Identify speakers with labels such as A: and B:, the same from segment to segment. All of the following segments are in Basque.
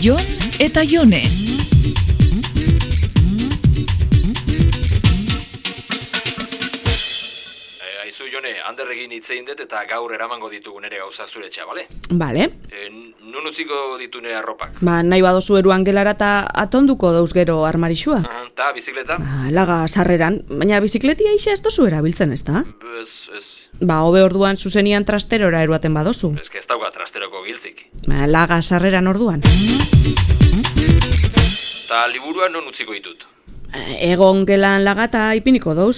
A: Jon eta Jone.
B: Eh, Aizu jone, handerrekin hitz egin dut eta gaur eramango ditugu nere gauza zure etxea, bale?
C: Bale,
B: E, nun utziko ditu nere arropak?
C: ba, nahi badozu eruan gelara eta atonduko dauz gero armarixua.
B: Aha, Ta, bizikleta?
C: Ba, laga sarreran, baina bizikletia isa ez dozu erabiltzen ez da?
B: Ez, ez,
C: Ba, hobe orduan zuzenian trasterora eruaten badozu.
B: ez ez dauka trasteroko giltzik.
C: Ba, laga sarreran orduan.
B: Ta liburua non utziko ditut? Hmm.
C: Egon gelan lagata ipiniko dauz.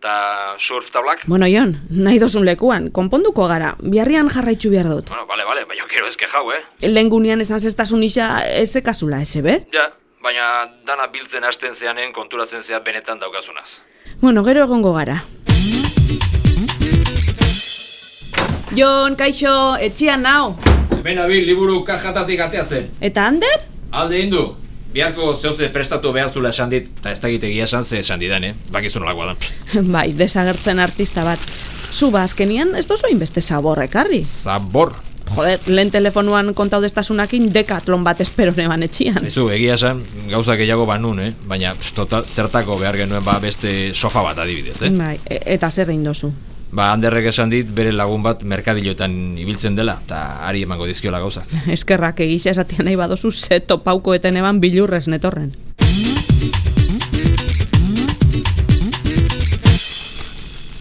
B: Ta surf tablak?
C: Bueno, Jon, nahi dozun lekuan, konponduko gara, biharrian jarraitzu behar dut.
B: Bueno, bale, bale, baina kero ezke jau, eh?
C: Lehen gunean esan zestasun isa ezekazula, eze be?
B: Ja, baina dana biltzen hasten zeanen konturatzen zea benetan daukazunaz.
C: Bueno, gero egongo gara. Jon, kaixo, etxian nao.
B: Bena bil, liburu kajatatik ateatzen.
C: Eta Ander?
B: Alde hindu. Biharko zeuze prestatu behar zula esan dit, eta ez dakit egia esan ze esan didan, eh? Bakizu nolakoa da.
C: Bai, desagertzen artista bat. Zu ba, azkenian ez dozu inbeste zabor ekarri.
B: Zabor.
C: Joder, lehen telefonuan kontau destasunakin dekatlon bat espero neban etxian.
B: Ezu, Bai. egia esan, gauza gehiago banun, eh? Baina, pff, total, zertako behar genuen ba beste sofa bat adibidez, eh?
C: Bai, e- eta zer egin dozu.
B: Ba, handerrek esan dit bere lagun bat merkadilotan ibiltzen dela, eta ari emango dizkiola gauzak.
C: Eskerrak egisa esatia nahi badozu ze topaukoeten eban bilurrez netorren.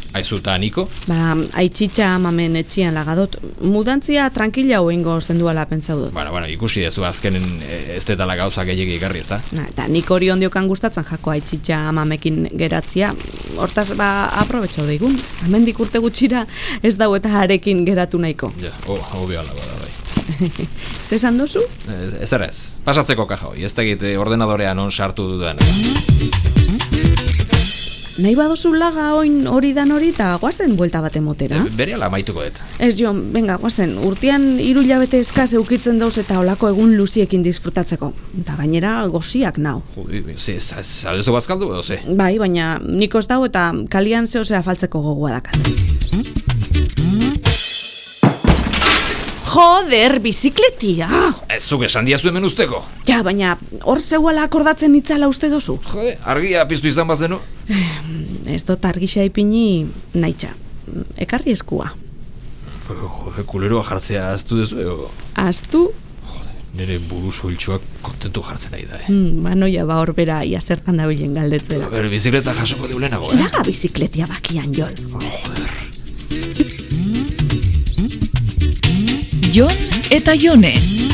B: Aizu eta Niko?
C: Ba, aitzitxa amamen etxian lagadot. Mudantzia tranquila oingo zenduala pentsau dut.
B: Bueno, bueno, ikusi dezu azkenen eh, ez detala gauza gehiagi ikarri, ezta?
C: Na, eta nik hori ondiokan gustatzen jako aitzitxa amamekin geratzea. Hortaz, ba, aprobetxau daigun. Hemendik urte gutxira ez dau eta harekin geratu nahiko.
B: Ja, oh, hobio alago da, bai.
C: Zesan duzu?
B: Ez, ez errez, pasatzeko kaja hoi, ez dakit eh, ordenadorea non sartu dudan.
C: Nahi baduzu laga oin hori dan hori eta guazen buelta bat emotera.
B: Bere ala maituko dut.
C: Ez Jon, benga, guazen, urtean hiru hilabete eskaz eukitzen dauz eta olako egun luziekin disfrutatzeko. Eta gainera goziak nau.
B: Jodi, ze, za- zadezu bazkaldu, edo ze?
C: Bai, baina nik ez dau eta kalian zehozea faltzeko gogoa dakat. Joder, bizikletia!
B: Ez zuk esan diazu hemen usteko.
C: Ja, baina hor zeuala akordatzen itzala uste dozu.
B: Jode, argia piztu izan bazenu.
C: Ez dut argisa ipini naitxa. Ekarri eskua.
B: Jode, kuleroa jartzea aztu dezu, ego,
C: Aztu,
B: nire buru soiltxoak kontentu jartzen nahi da, eh?
C: mm, manoia ba hor bera ia zertan dabilen galdetzera.
B: Ber, bizikleta jasoko deulenago, eh?
C: Laga bizikletia bakian, Jon.
A: Jon eta Jone.